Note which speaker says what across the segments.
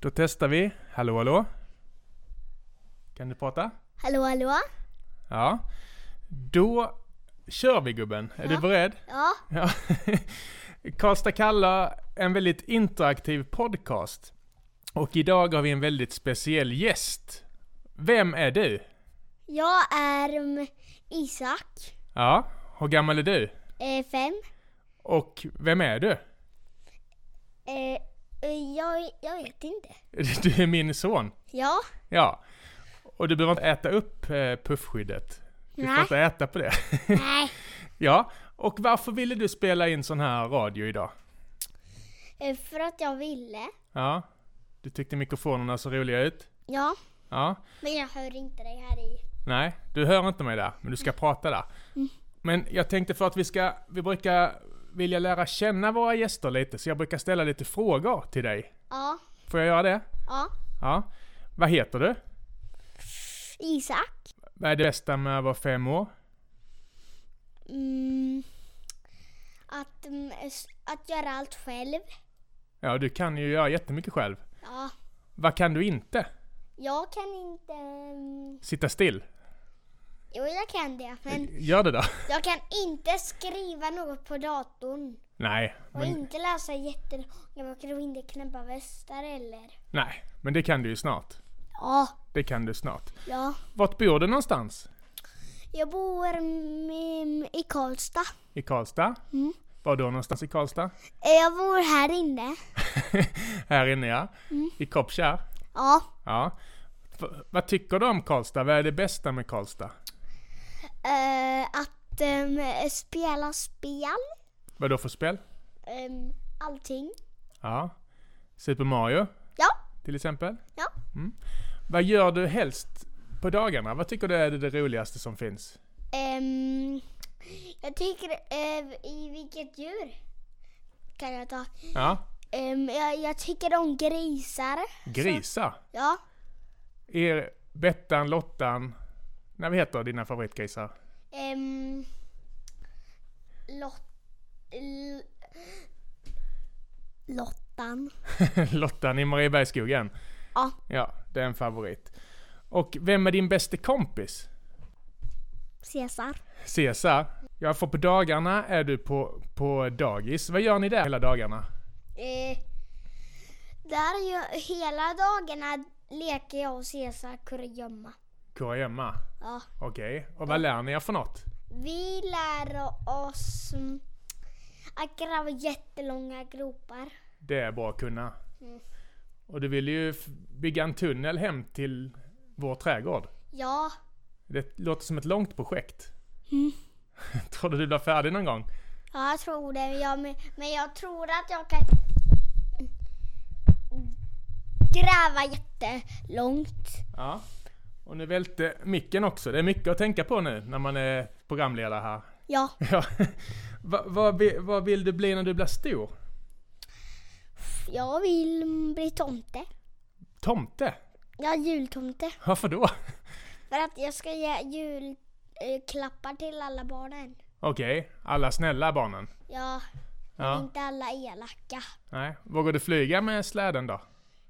Speaker 1: Då testar vi. Hallå hallå? Kan du prata?
Speaker 2: Hallå, hallå?
Speaker 1: Ja. Då kör vi gubben. Är du
Speaker 2: Ja.
Speaker 1: beredd?
Speaker 2: Ja,
Speaker 1: Ja. Karlstad Kalla, en väldigt interaktiv podcast. Och idag har vi en väldigt speciell gäst. Vem är du?
Speaker 2: jag är mm, Isak,
Speaker 1: Ja, hur gammal är du?
Speaker 2: eh, fem.
Speaker 1: Och vem är du?
Speaker 2: Eh, eh, jag, jag vet inte.
Speaker 1: Du är min son.
Speaker 2: Ja,
Speaker 1: Ja. Och du behöver inte äta upp eh, puffskyddet. Du får
Speaker 2: Nej.
Speaker 1: inte äta på det.
Speaker 2: nej.
Speaker 1: ja. Och varför ville du spela in sån här radio idag?
Speaker 2: Eh, för att jag ville.
Speaker 1: Ja. Du tyckte mikrofonerna såg roliga ut?
Speaker 2: Ja,
Speaker 1: Ja.
Speaker 2: men jag hör inte dig här i.
Speaker 1: Nej, du hör inte mig där, men du ska prata där. Men jag tänkte för att vi ska, vi brukar vilja lära känna våra gäster lite, så jag brukar ställa lite frågor till dig.
Speaker 2: Ja,
Speaker 1: Får jag göra det?
Speaker 2: ja.
Speaker 1: Ja. Vad heter du?
Speaker 2: Isak?
Speaker 1: Vad är det bästa med att vara fem år?
Speaker 2: Mm, att, mm, s- att göra allt själv.
Speaker 1: Ja, du kan ju göra jättemycket själv.
Speaker 2: Ja,
Speaker 1: Vad kan du inte?
Speaker 2: jag kan inte. mm,
Speaker 1: Sitta still?
Speaker 2: Jo, jag kan det, men
Speaker 1: Gör det då.
Speaker 2: jag kan inte skriva något på datorn.
Speaker 1: Nej,
Speaker 2: Och
Speaker 1: men,
Speaker 2: inte läsa jättelånga böcker och inte knäppa västar eller?
Speaker 1: nej, men det kan du ju snart.
Speaker 2: Ja,
Speaker 1: Det kan du snart.
Speaker 2: ja.
Speaker 1: Vart bor du någonstans?
Speaker 2: Jag bor mm, i Karlstad.
Speaker 1: I Karlstad?
Speaker 2: Mm.
Speaker 1: Var då någonstans i Karlstad?
Speaker 2: Eh, Jag bor här inne.
Speaker 1: Här inne ja. I Koppkärr?
Speaker 2: Ja.
Speaker 1: Ja. V- vad tycker du om Karlstad? Vad är det bästa med Karlstad?
Speaker 2: Eh, att em, spela spel.
Speaker 1: Vad då för spel?
Speaker 2: Em, allting.
Speaker 1: Ja. Super Mario
Speaker 2: Ja.
Speaker 1: till exempel?
Speaker 2: Ja.
Speaker 1: Mm. Vad gör du helst på dagarna? Vad tycker du är det roligaste som finns?
Speaker 2: Em, Ehm, jag tycker, eh, i vilket djur kan jag ta?
Speaker 1: Ja.
Speaker 2: Em, jag, jag tycker om grisar.
Speaker 1: Grisar?
Speaker 2: Ja.
Speaker 1: Är Bettan, Lottan, nej vad heter dina favoritgrisar?
Speaker 2: Ehm... Lot... L- Lottan.
Speaker 1: Lottan i Mariebergsskogen?
Speaker 2: Ja.
Speaker 1: Ja, det är en favorit. Och vem är din bästa kompis?
Speaker 2: Cesar.
Speaker 1: Cesar? Ja, för på dagarna är du på, på dagis. Vad gör ni där hela dagarna?
Speaker 2: Eh, där är ju hela dagarna leker jag och Cesar kurragömma.
Speaker 1: Kurragömma?
Speaker 2: Ja.
Speaker 1: Okej, och vad lär ni er för något?
Speaker 2: Vi lär oss mm, att gräva jättelånga gropar.
Speaker 1: Det är bra att kunna.
Speaker 2: Mm.
Speaker 1: Och du vill ju f- bygga en tunnel hem till vår trädgård.
Speaker 2: Ja.
Speaker 1: Det låter som ett långt projekt.
Speaker 2: Mm.
Speaker 1: Tror du du blir färdig någon gång?
Speaker 2: Ja, jag tror det. Jag, men- men jag tror att jag kan gräva jättelångt.
Speaker 1: Ja. Och nu välte micken också. Det är mycket att tänka på nu när man är programledare här.
Speaker 2: Ja.
Speaker 1: Ja. Va, vad, vi- vad vill du bli när du blir stor?
Speaker 2: Jag vill mm, bli tomte.
Speaker 1: Tomte?
Speaker 2: Ja, jultomte.
Speaker 1: Varför då?
Speaker 2: För att jag ska ge julklappar till alla barnen.
Speaker 1: Okej, alla snälla barnen.
Speaker 2: Ja,
Speaker 1: Ja.
Speaker 2: inte alla elaka.
Speaker 1: Nej. Vågar du flyga med släden då?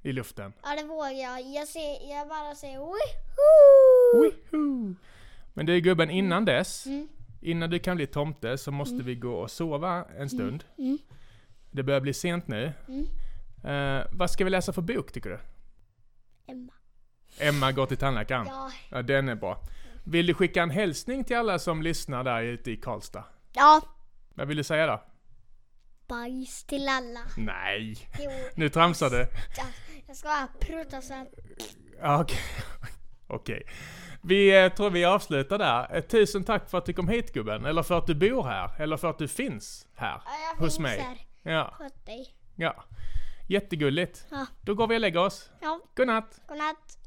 Speaker 1: I luften?
Speaker 2: Ja, det vågar jag. Jag, ser, jag bara säger
Speaker 1: Woho!
Speaker 2: woho!
Speaker 1: Men du gubben, innan dess,
Speaker 2: Mm.
Speaker 1: innan du kan bli tomte så måste vi gå och sova en stund.
Speaker 2: Mm.
Speaker 1: Det börjar bli sent nu.
Speaker 2: Mm.
Speaker 1: Eh, vad ska vi läsa för bok tycker du?
Speaker 2: Emma.
Speaker 1: Emma går till tandläkaren. Ja.
Speaker 2: Ja.
Speaker 1: den är bra. Vill du skicka en hälsning till alla som lyssnar där ute i Karlstad?
Speaker 2: ja,
Speaker 1: Vad vill du säga då?
Speaker 2: bajs till alla.
Speaker 1: Nej,
Speaker 2: Jo,
Speaker 1: nu tramsar du.
Speaker 2: jag, jag ska bara pruta så här.
Speaker 1: Ja, Okej. Okej. Vi eh, tror vi avslutar där. Eh, Tusen tack för att du kom hit gubben, eller för att du bor här, eller för att du finns här.
Speaker 2: Ja, jag
Speaker 1: Hos
Speaker 2: finns
Speaker 1: mig.
Speaker 2: här.
Speaker 1: Ja,
Speaker 2: Sköt dig.
Speaker 1: ja. Jättegulligt.
Speaker 2: Ja.
Speaker 1: Då går vi och lägger oss.
Speaker 2: Ja,
Speaker 1: Godnatt!
Speaker 2: godnatt.